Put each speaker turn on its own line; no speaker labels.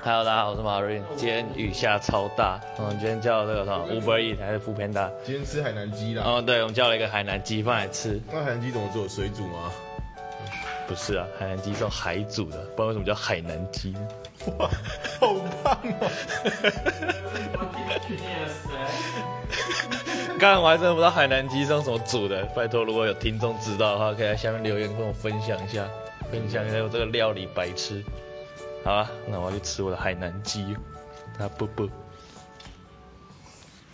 Hello，大家好，我是马瑞。今天雨下超大，嗯，今天叫这个什么 Uber Eat 还是 f o o Panda？
今天吃海南鸡啦。
嗯，对，我们叫了一个海南鸡饭来吃。
那海南鸡怎么做？水煮吗？
不是啊，海南鸡是用海煮的，不然为什么叫海南鸡呢？
哇，好棒
啊
哦！
刚刚我还真的不知道海南鸡是用什么煮的，拜托，如果有听众知道的话，可以在下面留言跟我分享一下，分享一下我这个料理白痴。好啊，那我要去吃我的海南鸡，啊不不。